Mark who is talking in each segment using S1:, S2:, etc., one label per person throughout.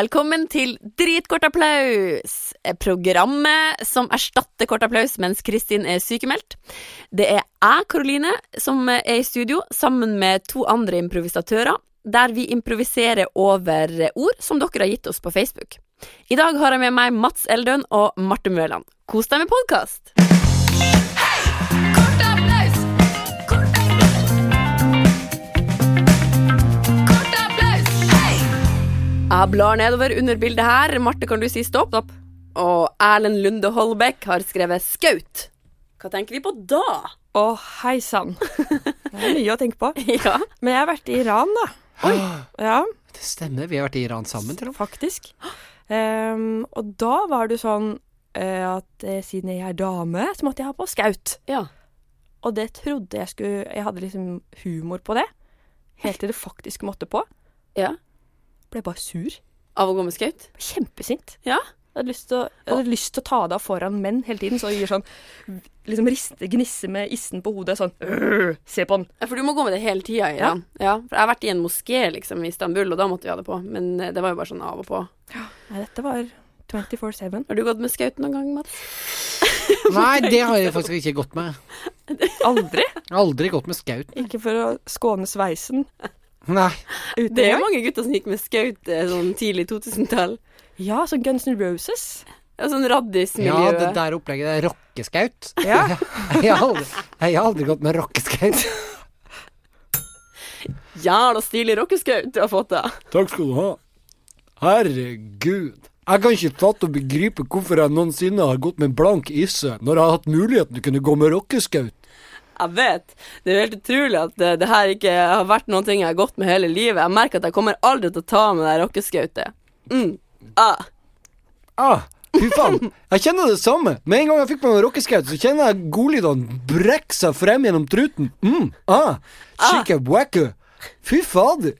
S1: Velkommen til Dritkort applaus! eh, Programmet som erstatter kort applaus mens Kristin er sykemeldt. Det er jeg, Karoline, som eh, er i studio sammen med to andre improvisatører, der vi improviserer over eh, ord som dere har gitt oss på Facebook. I dag har jeg med meg Mats Eldøen og Marte Mørland. Kos deg med podkast! Jeg blar nedover under bildet her. Marte, kan du si stopp? Stopp. Og Erlend Lunde Holbæk har skrevet skaut. Hva tenker vi på da?
S2: Å, hei sann. Det er mye å tenke på.
S1: Ja.
S2: Men jeg har vært i Iran, da. Ja,
S3: Det stemmer, vi har vært i Iran sammen til og med.
S2: faktisk. Ehm, og da var det sånn eh, at eh, siden jeg er dame, så måtte jeg ha på skaut.
S1: ja.
S2: Og det trodde jeg skulle Jeg hadde liksom humor på det. Helt til det faktisk måtte på.
S1: Ja.
S2: Ble bare sur.
S1: Av å gå med skaut?
S2: Ble Kjempesint.
S1: Ja.
S2: Jeg hadde lyst til å, jeg hadde lyst til å ta det av foran menn hele tiden. Så jeg gir sånn Liksom riste, gnisse med issen på hodet. Sånn «Øh, Se på den.
S1: Ja, For du må gå med det hele tida i Iran. Ja. For jeg har vært i en moské liksom, i Istanbul, og da måtte vi ha det på. Men eh, det var jo bare sånn av og på.
S2: Nei, dette var 24-7.
S1: Har du gått med skaut noen gang, Mats?
S3: Nei, det har jeg faktisk ikke gått med.
S2: Aldri.
S3: Aldri gått med skaut.
S2: Ikke for å skåne sveisen.
S3: Nei.
S2: Ute
S1: Det er jo mange gutter som gikk med skaut eh, sånn tidlig 2000-tall.
S2: Ja, så Guns N' Roses.
S1: Ja, sånn
S3: Ja,
S1: raddismiljø.
S3: det der opplegget det er rockeskaut.
S2: Ja.
S3: Jeg har aldri, jeg har aldri gått med rockeskaut.
S1: Jævla stilig rockeskaut du har fått deg.
S3: Takk skal du ha. Herregud. Jeg kan ikke fatte og begripe hvorfor jeg noensinne har gått med blank isse, når jeg har hatt muligheten til å kunne gå med rockeskaut.
S1: Jeg vet. Det er jo helt utrolig at eh, det her ikke har vært noen ting jeg har gått med hele livet. Jeg merker at jeg kommer aldri til å ta med det her rockeskautet. Mm. Ah.
S3: Ah, fy faen. Jeg kjenner det samme. Med en gang jeg fikk meg en rockeskaut, så kjenner jeg godlydene brekke seg frem gjennom truten. Mm, ah, chica wacka. Fy fader.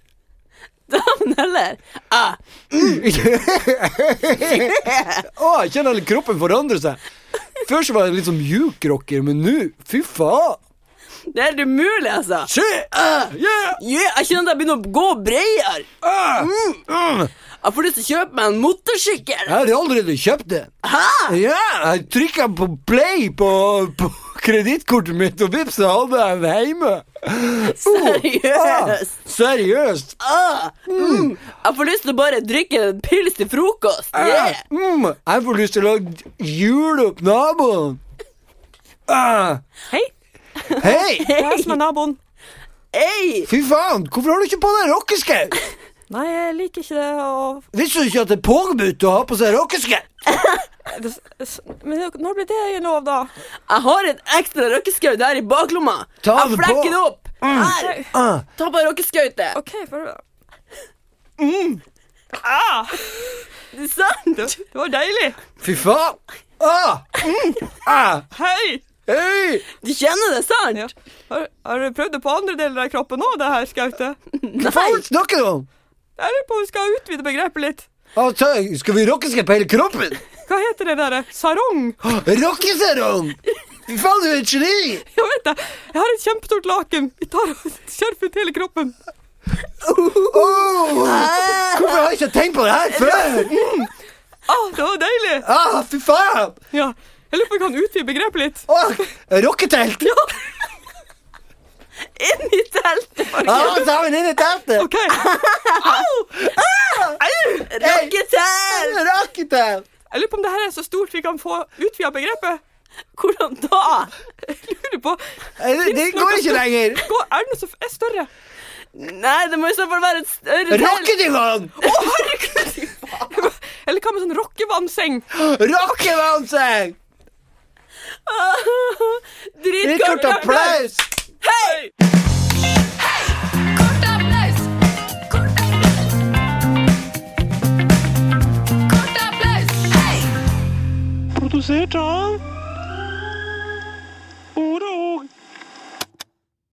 S1: Damen heller. Ah.
S3: ah, jeg kjenner hele kroppen forandre seg. Før så var jeg litt som mjuk rocker, men nå, fy faen.
S1: Det er helt umulig, altså.
S3: Shit. Ah, yeah.
S1: Yeah, jeg kjenner at jeg begynner å gå bredere.
S3: Ah, mm.
S1: Jeg får lyst til å kjøpe meg en motorsykkel.
S3: Jeg har allerede kjøpt det.
S1: Hæ?
S3: Ja, jeg trykka på play på, på kredittkortet mitt, og vips, så hadde jeg det hjemme.
S1: Seriøst?
S3: Ah, seriøst.
S1: Ah. Mm. Jeg får lyst til å bare drikke en pils til frokost.
S3: Ah,
S1: Yeah.
S3: mm, jeg får lyst til å jule opp naboen. Ah,
S2: Hei,
S3: Hei!
S2: det er som er naboen.
S1: Hey.
S3: Fy faen, hvorfor har du ikke på deg rockeskaut?
S2: Nei, jeg liker ikke det å
S3: Visste du ikke at det er påbudt å ha på seg rockeskaut?
S2: det, s- Men nå ble det lov, da.
S1: Jeg har en ekstra rockeskaut der i baklomma.
S3: Ta
S1: Jeg
S3: det på.
S1: flekker det opp. Her.
S3: Ah,
S1: Ta på rockeskautet.
S2: OK, for
S1: Det er sant.
S2: Mm. Ah! Det var deilig.
S3: fy faen. Ah, mm, ah,
S2: Hei!
S3: hei!
S1: Du kjenner det, sant?
S2: Ja. Har, har du prøvd det på andre deler av kroppen òg, det her skautet?
S3: Hva faen snakker du om?
S2: Jeg lurer på om vi skal utvide begrepet litt.
S3: Altså, skal vi rockeskaut på hele kroppen?
S2: Hva heter det derre? Sarong?
S3: Rockeserong! Fy faen, du er et geni!
S2: Jeg vet det. Jeg har et kjempestort laken. Vi tar og skjerfer ut hele kroppen.
S3: Åh, hvorfor har jeg ikke tenkt på det her før?
S2: Ah, det var deilig.
S3: Ah, fy faen!
S2: Ja. Jeg lurer på om vi kan utvide begrepet litt.
S3: Åh, rocketelt!
S1: Inn i teltet,
S3: Ah,
S1: folkens.
S3: sammen inn i teltet!
S2: OK.
S1: Rocketelt!
S3: Rocketelt!
S2: Jeg lurer på om det her er så stort vi kan få utvida begrepet.
S1: Hvordan da?
S2: Jeg lurer på
S3: Eh, Det, det går ikke lenger.
S2: gå, Er det noe som er større?
S1: Nei, det må i så fall være et større telt.
S3: Rockedivan!
S2: Eller hva med sånn rockevannseng?
S3: Rockevannseng!
S1: Ah,
S3: Litt kort
S1: Dritkort applaus.
S3: applaus!
S2: Hei!
S4: producer Tom.